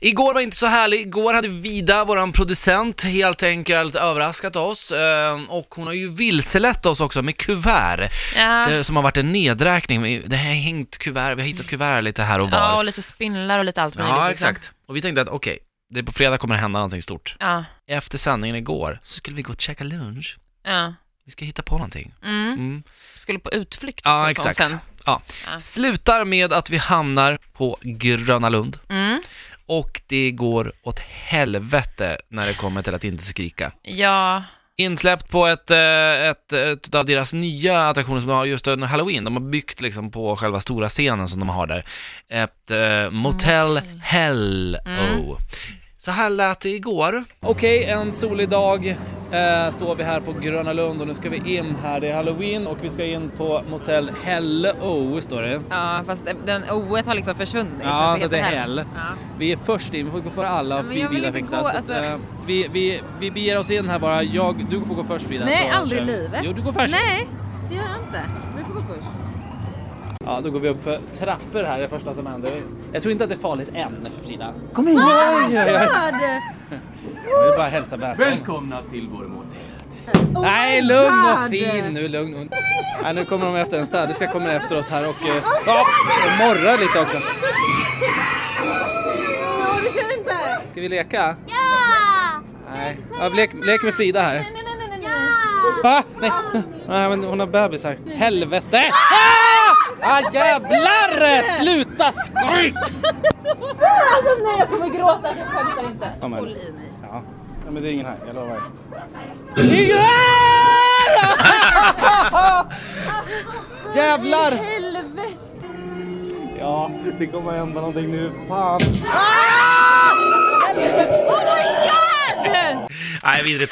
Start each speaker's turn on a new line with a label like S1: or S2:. S1: Igår var inte så härlig, igår hade Vida, våran producent, helt enkelt överraskat oss eh, och hon har ju vilselett oss också med kuvert
S2: Ja.
S1: det, som har varit en nedräkning. Vi- Det har hängt kuvert, vi har hittat kuvert lite här och var.
S2: ja, och lite spindlar och lite allt möjligt.
S1: Ja,
S2: liksom.
S1: exakt. Och vi tänkte att okej, det på fredag kommer det hända någonting stort.
S2: Ja,
S1: Efter sändningen igår så skulle vi gå och käka lunch.
S2: ja.
S1: Vi ska hitta på någonting.
S2: Mm.
S1: Mm.
S2: Skulle på utflykt också
S1: Ja,
S2: så
S1: exakt.
S2: sen.
S1: Ja.
S2: Ja.
S1: Slutar med att vi hamnar på Gröna Lund
S2: Mm.
S1: och det går åt helvete när det kommer till att inte skrika.
S2: Ja,
S1: Insläppt på ett, eh, ett, ett av deras nya attraktioner som de har just under halloween. De har byggt liksom på själva stora scenen som de har där. Ett eh, Motel
S2: Motel.
S1: Hell Oh.
S2: Mm.
S1: Så här lät det igår. Okej, en solig dag eh, står vi här på Gröna Lund och nu ska vi in här. Det är halloween och vi ska in på Motel Hell O står det.
S3: Ja, fast den O-et har liksom försvunnit.
S1: Ja,
S3: så
S1: så det är
S3: heter
S1: Hell. Vi är först in, vi får gå före alla.
S3: Men
S1: vi
S3: jag vill
S1: bilar
S3: inte
S1: fixat.
S3: gå,
S1: Så,
S3: alltså.
S1: eh, vi, vi, vi beger oss in här bara. Jag, du får gå först Frida.
S3: Nej,
S1: så
S3: aldrig i
S1: kör vi.
S3: livet.
S1: Jo, du går först.
S3: Nej, det gör jag inte. Du får gå först.
S1: Ja, då går vi upp för trappor här, det första som händer. Jag tror inte att det är farligt än för Frida.
S4: Kom igen!
S3: God!
S1: Jag vill bara hälsa välkommen.
S4: Välkomna till vår motell.
S3: Oh
S1: Nej,
S3: my
S1: lugn och
S3: God!
S1: fin nu, lugn och... Nej, nu kommer de efter en städerska kommer efter oss här och... eh, Ja, de morrar lite också.
S3: Åh, det kan inte!
S1: Ska vi leka? Ja! Nej, ja, lek, lek med Frida här.
S3: Nej, nej, nej, nej, nej.
S1: Va? Nej. Nej, men hon har bebisar. Helvete! Ah! Ah, jävlar! Sluta skrik!
S3: Alltså nej, jag kommer gråta. Jag skämtar inte.
S1: Ja, men-
S3: Håll i mig.
S1: Ja. ja, men det är ingen här, jag lovar. Jävlar!
S3: Helvete!
S1: Ja, det kommer hända någonting nu. Fan! Nej, vidrigt.